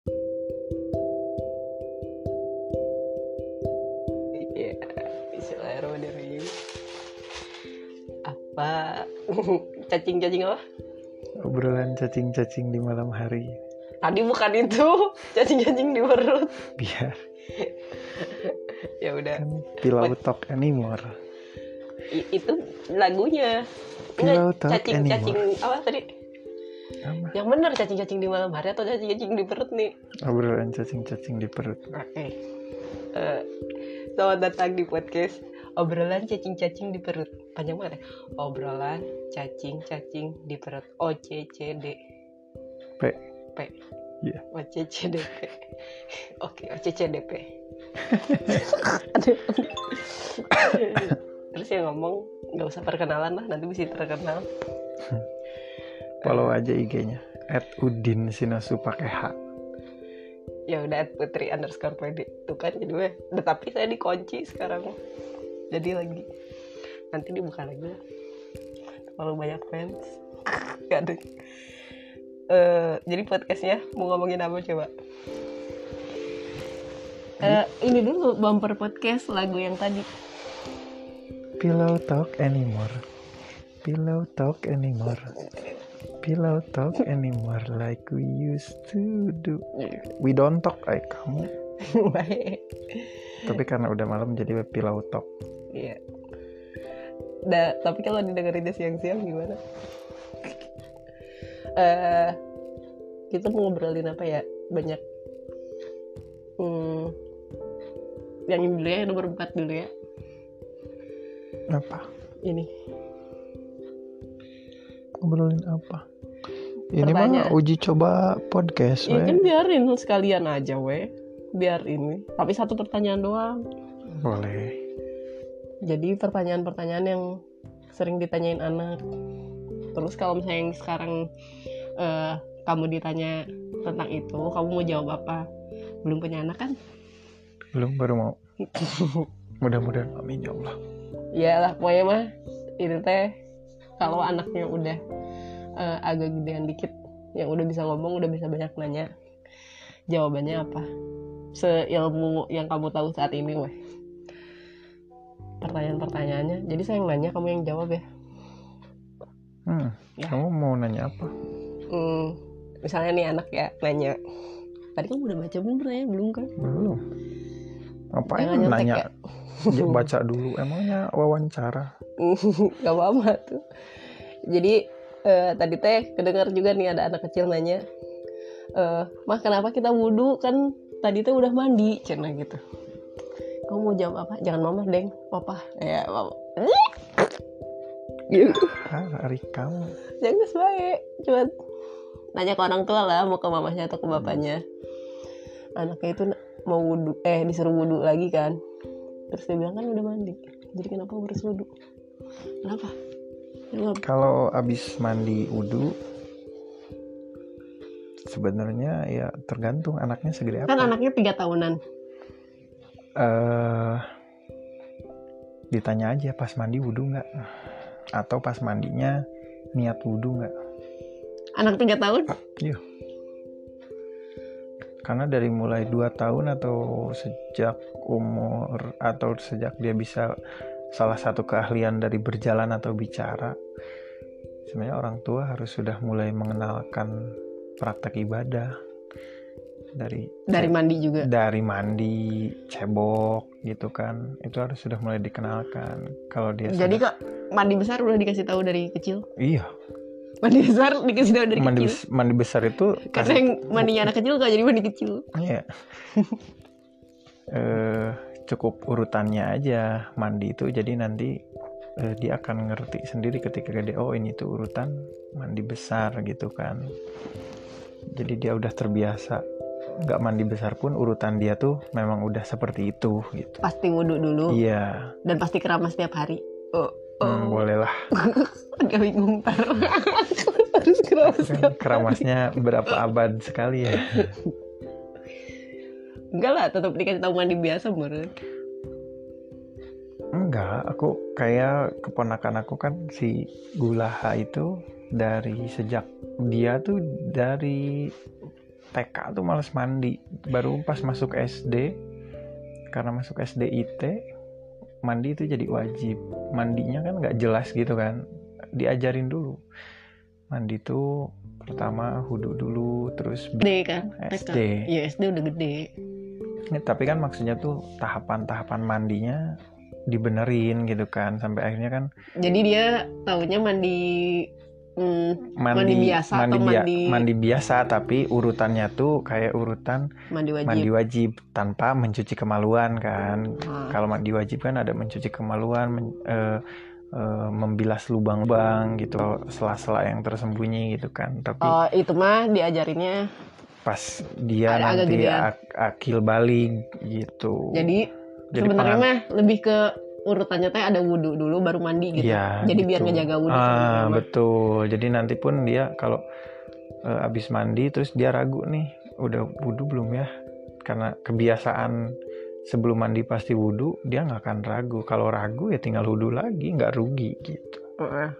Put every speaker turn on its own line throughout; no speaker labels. Iya, apa cacing-cacing apa?
Obrolan cacing-cacing di malam hari.
Tadi bukan itu, cacing-cacing di perut.
Biar
Ya udah,
kan pilau talk anymore.
I- itu lagunya.
Pillow
Enggak,
Talk
cacing-cacing apa tadi?
Apa?
Yang benar cacing-cacing di malam hari atau cacing-cacing di perut nih?
Obrolan cacing-cacing di perut.
Oke. Eh, selamat datang di podcast obrolan cacing-cacing di perut. Panjang banget ya. Obrolan cacing-cacing di perut. OCCD.
P.
P.
Iya.
OCCDP. Oke, OCCDP. Aduh. Terus yang ngomong nggak usah perkenalan lah, nanti bisa terkenal.
Follow aja IG-nya. At Udin Sinasu pakai H.
Ya udah at putri underscore pd tuh kan jadi gue. Tetapi saya dikunci sekarang. Jadi lagi nanti dibuka lagi lah. Kalau banyak fans. Gak ada. Eh, jadi podcastnya mau ngomongin apa coba? Eh, ini dulu bumper podcast lagu yang tadi.
Pillow talk anymore. Pillow talk anymore. Pillow talk anymore like we used to do. We don't talk like kamu.
Baik.
Tapi karena udah malam jadi pillow talk.
Iya. Da, tapi kalau didengerinnya siang-siang gimana? Eh, kita mau ngobrolin apa ya? Banyak. Hmm, yang ini dulu ya, yang nomor 4 dulu ya.
Apa?
Ini. Ya
Ngobrolin apa? Ini
Pertanyaan.
mah uji coba podcast,
Ya kan
weh.
biarin sekalian aja, weh. Biar ini. Tapi satu pertanyaan doang.
Boleh.
Jadi pertanyaan-pertanyaan yang sering ditanyain anak. Terus kalau misalnya yang sekarang eh, kamu ditanya tentang itu, kamu mau jawab apa? Belum punya anak kan?
Belum baru mau. Mudah-mudahan amin ya Allah.
Iyalah pokoknya mah itu teh kalau anaknya udah eh, agak gedean dikit, yang udah bisa ngomong, udah bisa banyak nanya. Jawabannya apa? Seilmu yang kamu tahu saat ini, weh. Pertanyaan-pertanyaannya. Jadi saya yang nanya, kamu yang jawab ya.
Hmm,
Ya.
kamu mau nanya apa?
Hmm, misalnya nih anak ya nanya tadi kamu udah baca belum ya belum kan
Belum. Ngapain
Jangan nyontek
nanya?
ya.
Ya, baca dulu. Emangnya wawancara?
gak apa apa tuh jadi eh, tadi teh kedengar juga nih ada anak kecil nanya eh mah kenapa kita wudhu kan tadi teh udah mandi cina gitu kamu mau jawab apa jangan mama deng papa ya mama gitu
Hari Ah, kamu.
jangan sesuai cuma nanya ke orang tua lah mau ke mamanya atau ke bapaknya anaknya itu na- mau wudhu eh disuruh wudhu lagi kan terus dia bilang kan udah mandi jadi kenapa harus wudhu kenapa jawab
Kalau abis mandi udu, sebenarnya ya tergantung anaknya segede
kan
apa.
anaknya tiga tahunan
eh ditanya aja pas mandi wudhu nggak? Atau pas mandinya niat wudhu nggak?
anak tiga tahun
Karena dari mulai 2 tahun atau sejak umur atau sejak dia bisa salah satu keahlian dari berjalan atau bicara, sebenarnya orang tua harus sudah mulai mengenalkan praktek ibadah dari
dari mandi juga
dari mandi, cebok gitu kan. Itu harus sudah mulai dikenalkan. Kalau dia
jadi kok
sudah-
mandi besar udah dikasih tahu dari kecil
iya,
mandi besar dikasih tahu dari
mandi,
kecil
bes- mandi besar itu
karena yang mandinya anak kecil gak jadi mandi kecil
Iya. eh cukup urutannya aja mandi itu jadi nanti eh, dia akan ngerti sendiri ketika gede oh ini tuh urutan mandi besar gitu kan. Jadi dia udah terbiasa nggak mandi besar pun urutan dia tuh memang udah seperti itu gitu.
pasti wudhu dulu
Iya,
dan pasti keramas setiap hari oh, oh.
hmm, bolehlah.
agak bingung ntar harus keramas
Kan keramasnya berapa abad sekali ya.
enggak lah tetap dikasih tahu mandi biasa menurut
Enggak, aku kayak keponakan aku kan si Gulaha itu dari sejak dia tuh dari TK tuh males mandi. Baru pas masuk SD karena masuk SD IT mandi itu jadi wajib. Mandinya kan nggak jelas gitu kan. diajarin dulu mandi tuh pertama hudu dulu terus
SD kan TK.
SD
Iya SD udah gede
Ini tapi kan maksudnya tuh tahapan-tahapan mandinya dibenerin gitu kan sampai akhirnya kan
jadi dia taunya mandi mm,
mandi
Mandi biasa
mandi,
atau
bia-
mandi-
mandi biasa tapi urutannya tuh kayak urutan
mandi wajib
mandi wajib tanpa mencuci kemaluan kan
Ah,
kalau mandi wajib kan ada mencuci kemaluan men- eh, eh, membilas lubang-lubang gitu sela-sela yang tersembunyi gitu kan tapi
Oh, itu mah diajarinnya
pas
Ada
dia
agak
nanti
gedean.
ak- akil balik gitu
jadi sebenarnya
pengan-
mah lebih ke urutannya teh ada wudhu dulu baru mandi gitu
Iya,
jadi biar
gitu.
ngejaga wudhu
ah betul jadi nanti pun dia kalau eh, abis mandi terus dia ragu nih udah wudhu belum ya karena kebiasaan sebelum mandi pasti wudhu dia nggak akan ragu kalau ragu ya tinggal wudhu lagi nggak rugi gitu
Heeh.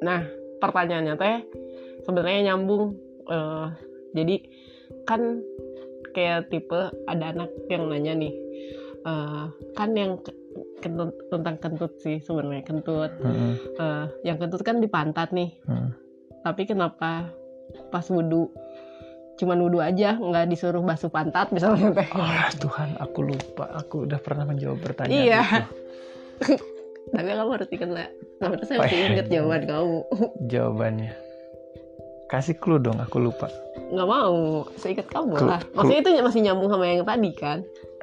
Nah, pertanyaannya teh sebenarnya nyambung. Eh, jadi kan kayak tipe ada anak yang nanya nih, eh, kan yang ke- kentut- tentang kentut sih sebenarnya kentut.
Heeh,
Eh, yang kentut kan di pantat nih.
heeh.
Tapi kenapa pas wudhu cuman wudhu aja nggak disuruh basuh pantat misalnya teh?
Ah, Tuhan aku lupa aku udah pernah menjawab pertanyaan
Iya.
itu.
Tapi kamu harus ingat lah. Kamu saya
Oh,
masih
iya.
inget jawaban kamu.
jawabannya kasih clue dong aku lupa
nggak mau saya ingat kamu
Kelu-
lah maksudnya itu masih nyambung sama yang tadi kan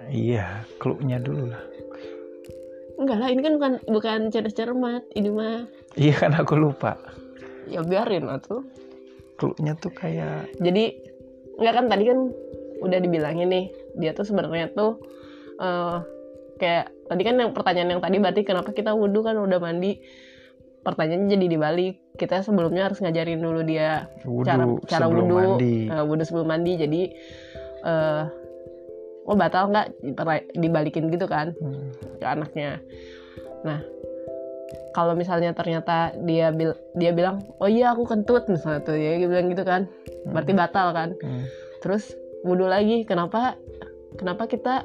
iya clue-nya dulu lah
enggak lah ini kan bukan bukan cerdas cermat ini mah
iya kan aku lupa
ya biarin atuh
clue-nya tuh kayak
jadi enggak kan tadi kan udah dibilangin nih dia tuh sebenarnya tuh eh, kayak tadi kan yang pertanyaan yang tadi berarti kenapa kita wudhu kan udah mandi pertanyaannya jadi dibalik kita sebelumnya harus ngajarin dulu dia cara
wudhu
cara
sebelum
wudhu
mandi
eh, wudhu sebelum mandi jadi eh oh batal nggak Diper- dibalikin gitu kan
Hmm.
ke anaknya nah kalau misalnya ternyata dia bil- dia bilang oh iya aku kentut misalnya tuh ya dia bilang gitu kan berarti batal kan
Hmm.
terus wudhu lagi kenapa kenapa kita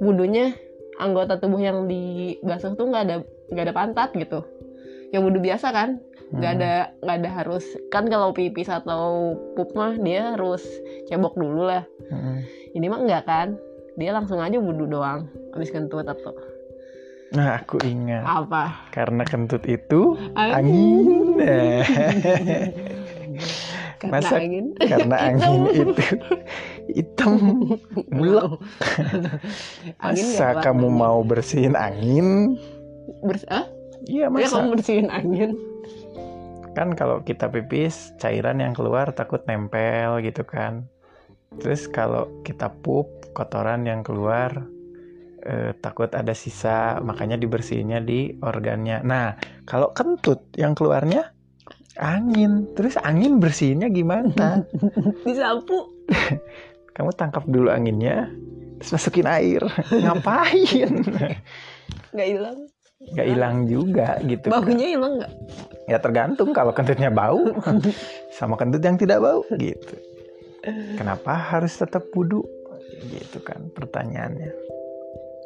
wudhunya anggota tubuh yang dibasuh tuh nggak ada nggak ada pantat gitu yang wudhu biasa kan nggak
Hmm.
ada nggak ada harus kan kalau pipis atau pup mah dia harus cebok dulu lah
Hmm.
ini mah enggak kan dia langsung aja wudhu doang habis kentut atau
Nah, aku
Ah.
ingat
apa
karena kentut itu
angin
angin.
Karena
Masa
angin
karena angin itu hitam. Mulek.
angin
Masa kamu mau bersihin angin?
bersih
Iya,
ya
masa
kamu bersihin angin
kan kalau kita pipis cairan yang keluar takut nempel gitu kan. Terus kalau kita pup kotoran yang keluar eh, takut ada sisa makanya dibersihinnya di organnya. Nah kalau kentut yang keluarnya angin terus angin bersihinnya gimana?
disapu
Kamu tangkap dulu anginnya terus masukin air ngapain?
nggak hilang
Gak hilang juga gitu. kan.
baunya hilang nggak
Ya tergantung kalau kentutnya bau sama kentut yang tidak bau gitu. Kenapa harus tetap wudhu? Gitu kan pertanyaannya.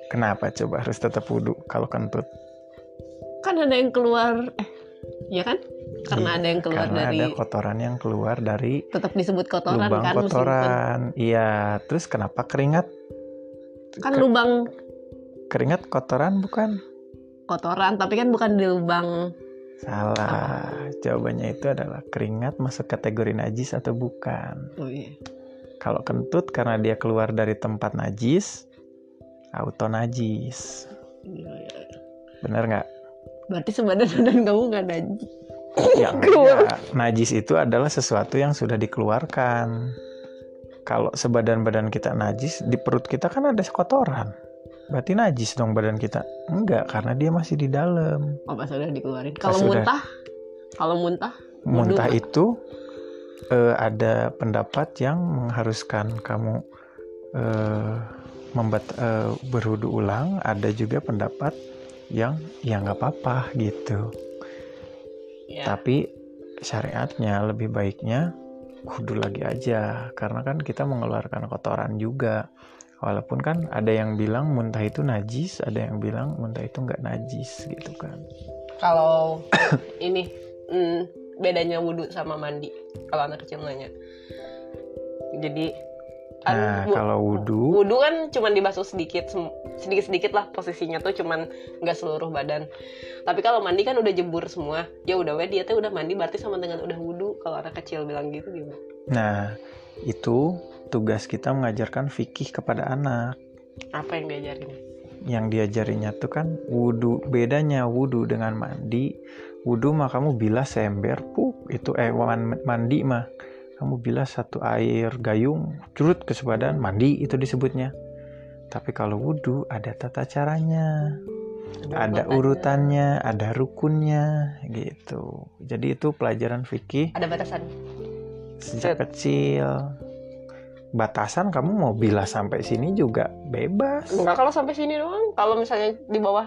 Kenapa coba harus tetap wudhu kalau kentut?
kan ada yang keluar eh ya kan karena
Iya,
ada yang keluar
Karena
dari
ada kotoran yang keluar dari
tetap disebut kotoran
lubang
kan meskipun-
kotoran. Iya, terus kenapa keringat?
kan lubang
Keringat kotoran bukan?
kotoran tapi kan bukan di lubang Ah.
Salah. Jawabannya itu adalah keringat masuk kategori najis atau bukan.
oh, iya.
Kalau kentut karena dia keluar dari tempat najis, auto najis. Bener nggak?
Iya, berarti sebenarnya dan kamu nggak najis
Ya,
Keluar.
enggak. najis itu adalah sesuatu yang sudah dikeluarkan. Kalau sebadan badan kita najis, di perut kita kan ada kotoran. Berarti najis dong badan kita. Enggak, karena dia masih di dalam.
oh pas udah dikeluarin kalau
Pas udah.
muntah kalau muntah Wudhu.
Muntah itu eh, ada pendapat yang mengharuskan kamu eh, membat eh, berwudu ulang, ada juga pendapat yang ya nggak apa-apa gitu.
ya
tapi syariatnya lebih baiknya wudhu lagi aja karena kan kita mengeluarkan kotoran juga walaupun kan ada yang bilang muntah itu najis ada yang bilang muntah itu nggak najis gitu kan
kalau ini mm, bedanya wudhu sama mandi kalau anak kecil nanya jadi kan
Nah,
wu-
kalau wudhu,
wudhu kan cuman dibasuh sedikit sedikit sedikit lah posisinya tuh cuman nggak seluruh badan tapi kalau mandi kan udah jebur semua ya udah we dia teh udah mandi berarti sama dengan udah wudhu kalau anak kecil bilang gitu gimana
nah itu tugas kita mengajarkan fikih kepada anak.
apa yang diajarin
Yang diajarinya tuh kan wudhu. Bedanya wudhu dengan mandi. Wudhu mah kamu bilas seember, puk itu eh man- mandi mah kamu bilas satu air gayung, curut ke sebadan, mandi itu disebutnya. Tapi kalau wudhu ada tata caranya. ada
urutannya.
urutannya, ada rukunnya gitu. Jadi itu pelajaran fikih
ada batasan
sejak
Set.
kecil. Batasan kamu mau bilas sampai sini juga bebas.
enggak kalau sampai sini doang kalau misalnya di bawah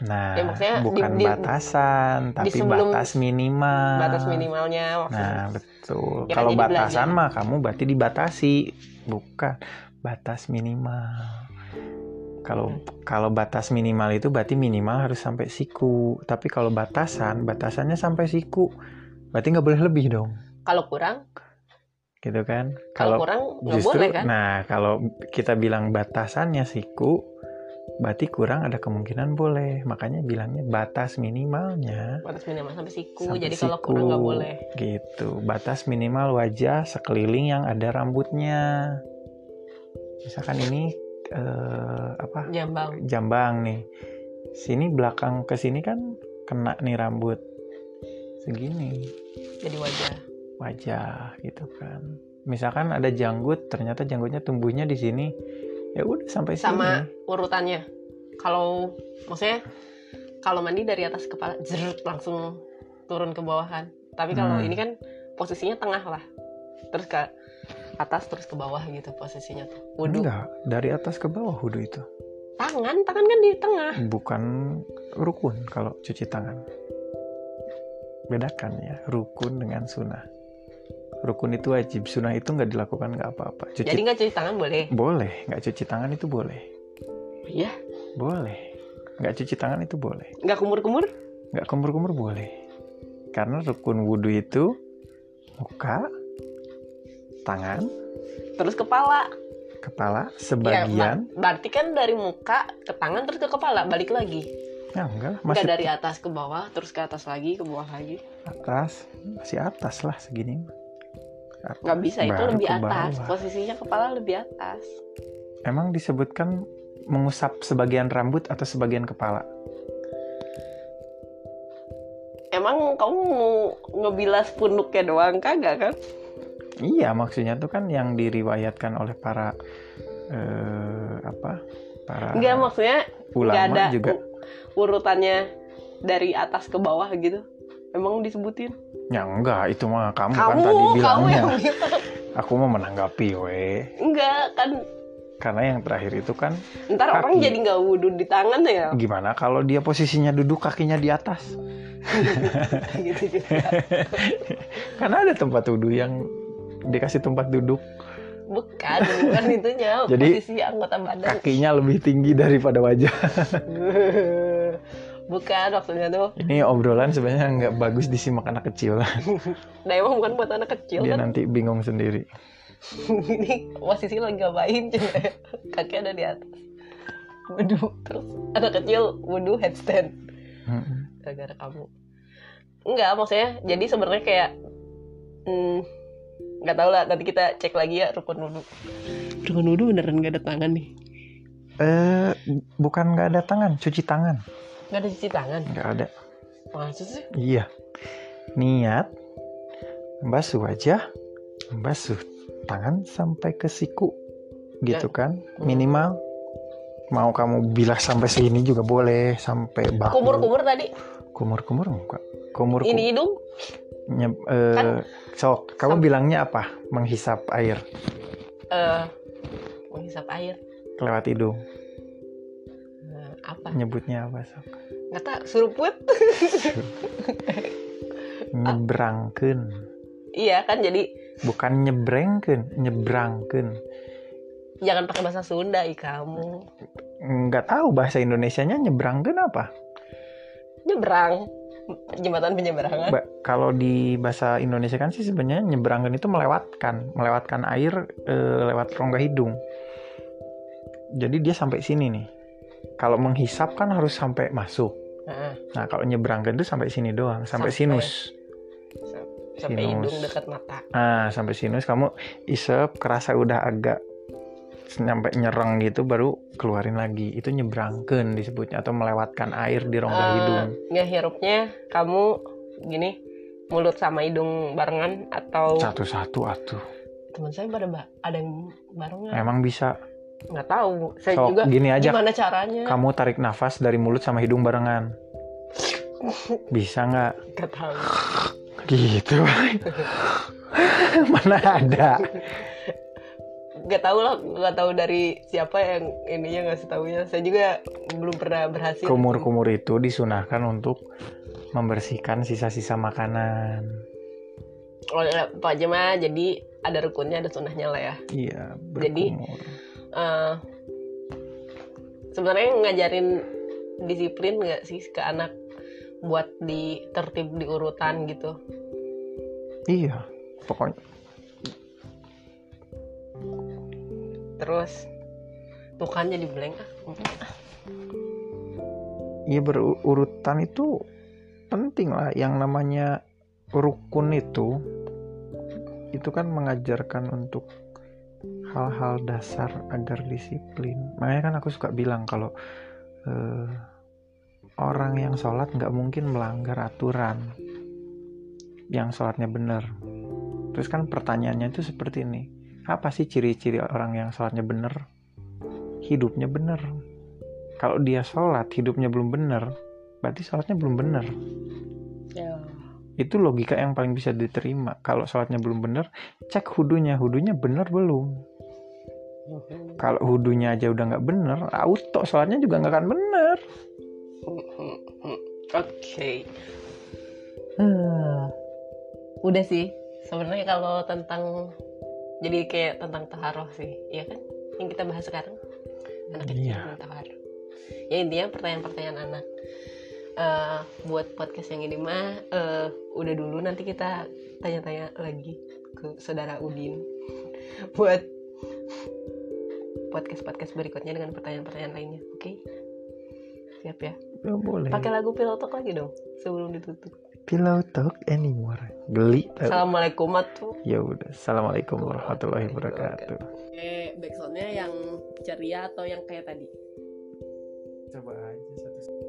Nah,
Ya, maksudnya di-
bukan
di-
batasan, tapi
sebelum-
batas minimal.
batas minimalnya maksudnya
Ah. Nah, betul.
Ya kan
Kalau
jadi
batasan
belajar.
mah kamu berarti dibatasi, bukan batas minimal. Kalau kalau batas minimal itu berarti minimal harus sampai siku. Tapi kalau batasan, batasannya sampai siku. Berarti nggak boleh lebih dong,
kalau kurang
gitu kan?
kalau
Kalau
kurang nggak
justru,
boleh kan
nah kalau kita bilang batasannya siku, berarti kurang ada kemungkinan boleh. Makanya bilangnya batas minimalnya
batas minimal sampai siku
Sampai
jadi kalau
siku.
kurang nggak boleh
gitu batas minimal wajah sekeliling yang ada rambutnya misalkan ini eh, apa
jambang
jambang nih sini belakang ke sini kan kena nih rambut segini
jadi wajah
wajah gitu kan misalkan ada janggut ternyata janggutnya tumbuhnya di sini ya udah sampai
Sama.
sini
urutannya kalau maksudnya kalau mandi dari atas kepala jerut langsung turun ke bawahan tapi kalau
Hmm.
ini kan posisinya tengah lah terus ke atas terus ke bawah gitu posisinya tuh wudhu
enggak dari atas ke bawah wudhu itu
tangan tangan kan di tengah
bukan rukun kalau cuci tangan. Bedakan ya, rukun dengan sunnah. Rukun itu wajib, sunnah itu nggak dilakukan nggak apa-apa. Cuci
jadi nggak cuci tangan boleh
boleh, nggak cuci tangan itu boleh,
iya
boleh. Nggak cuci tangan itu boleh,
nggak kumur kumur
nggak kumur-kumur boleh. Karena rukun wudhu itu muka, tangan,
terus kepala
kepala,
Ya,
sebagian.
ber- berarti kan dari muka ke tangan terus ke kepala balik lagi
Ya, enggak, lah,
nggak
masih
dari atas ke bawah terus ke atas lagi ke bawah lagi
atas, masih atas lah segini. mah. Atas,
nggak bisa itu
baru
lebih
ke
atas
bawah.
posisinya kepala lebih atas
Emang disebutkan mengusap sebagian rambut atau sebagian kepala?
Emang kamu mau ngebilas punduknya doang kagak kan?
Iya, maksudnya tuh kan yang diriwayatkan oleh para eh, apa? Para
Enggak maksudnya nggak
Ah. ulama
ada
juga.
u- urutannya dari atas ke bawah gitu. Emang disebutin?
Ya enggak, itu mah kamu, kan
kamu,
tadi
kamu
bilangnya.
yang bilang.
Aku mau menanggapi we.
Enggak kan?
Karena yang terakhir itu kan
Ntar
Kaki.
orang jadi nggak wudhu di tangan ya?
gimana kalau dia posisinya duduk kakinya di atas?
gitu juga.
Karena ada tempat duduk yang dikasih tempat duduk
Bukan, bukan itunya.
Jadi,
posisi anggota badan.
kakinya lebih tinggi daripada wajah.
bukan maksudnya tuh.
Ini obrolan sebenarnya nggak bagus disimak anak kecil.
Nah emang bukan buat anak kecil
Dia
kan?
nanti bingung sendiri.
ini posisi lo ngapain coba kaki ada di atas wudhu terus anak kecil wudhu headstand
Mm-mm.
gara-gara kamu enggak maksudnya jadi sebenarnya kayak hmm, nggak tahu lah nanti kita cek lagi ya rukun wudhu rukun wudhu beneran nggak ada tangan nih
Eh, bukan nggak ada tangan, cuci tangan.
nggak ada cuci tangan
Nggak ada.
maksud sih
Iya. Niat, membasuh wajah, membasuh tangan sampai ke siku, gitu
Ya.
kan? Minimal. Mau kamu bilas sampai sini juga boleh, sampai bahu.
kumur-kumur tadi
Kumur-kumur enggak? Kumur
ini hidung
nyeb- eh,
Kan-
sok. Kamu
Sam-
bilangnya apa? Menghisap air
eh menghisap air
lewat hidung.
Eh, apa
Nyebutnya apa? Sok?
nggak tahu suruput
Nyebrangkeun.
iya kan jadi
Bukan nyebrengkeun, nyebrangkeun.
jangan pakai bahasa Sunda i kamu
nggak tahu bahasa Indonesianya nyebrang kenapa
nyebrang jembatan penyeberangan
Ba- kalau di bahasa Indonesia kan sih sebenarnya nyebrangkan itu melewatkan, melewatkan air eh, lewat rongga hidung. Jadi dia sampai sini nih. Kalau menghisap kan harus sampai masuk.
Nah,
Nah, kalau nyebrangkan itu sampai sini doang, sampai,
Sampai.
sinus.
sampai
Sinus.
hidung dekat mata
Nah, sampai sinus kamu isep kerasa udah agak sampai nyereng gitu baru keluarin lagi. Itu nyebrangkan disebutnya atau melewatkan air di rongga
Eh,
Oh, hidung.
ngehirupnya kamu gini mulut sama hidung barengan atau
Satu-satu atuh.
teman saya pada ba- ada yang barengan
Emang bisa.
nggak tahu saya
Eh. Sok,
juga
gini aja
gimana caranya
kamu tarik nafas dari mulut sama hidung barengan bisa nggak
nggak tahu
gitu mana ada
nggak tahu lah nggak tahu dari siapa yang ininya ngasih tahunya saya juga belum pernah berhasil
kumur-kumur itu disunahkan untuk membersihkan sisa-sisa makanan
oleh Pak Jema jadi ada rukunnya ada sunahnya lah ya
iya
Jadi-
berkumur
Eh, sebenarnya ngajarin disiplin nggak sih ke anak buat di tertib di urutan gitu
iya pokoknya
terus tuh kan jadi blank ah
iya berurutan itu penting lah yang namanya rukun itu itu kan mengajarkan untuk hal-hal dasar agar disiplin makanya kan aku suka bilang kalau eh, orang yang sholat nggak mungkin melanggar aturan yang sholatnya benar terus kan pertanyaannya itu seperti ini apa sih ciri-ciri orang yang sholatnya benar hidupnya benar kalau dia sholat hidupnya belum benar berarti sholatnya belum benar
ya
itu logika yang paling bisa diterima kalau sholatnya belum benar cek hudunya hudunya benar belum
Mhm.
kalau hudunya aja udah nggak benar auto sholatnya juga nggak akan benar
oke udah sih sebenarnya kalau tentang jadi kayak tentang taharoh sih iya kan yang kita bahas sekarang anak kecil
Iya.
dan taharoh ya intinya pertanyaan-pertanyaan anak Eh, buat podcast yang ini mah eh, udah dulu nanti kita tanya-tanya lagi ke saudara Udin buat podcast-podcast berikutnya dengan pertanyaan-pertanyaan lainnya oke siap ya
ya boleh
pakai lagu pilotok lagi dong sebelum ditutup
pillow talk anymore geli tau.
assalamualaikum tuh
ya udah assalamualaikum warahmatullahi wabarakatuh
eh backsoundnya yang ceria atau yang kayak tadi
coba aja satu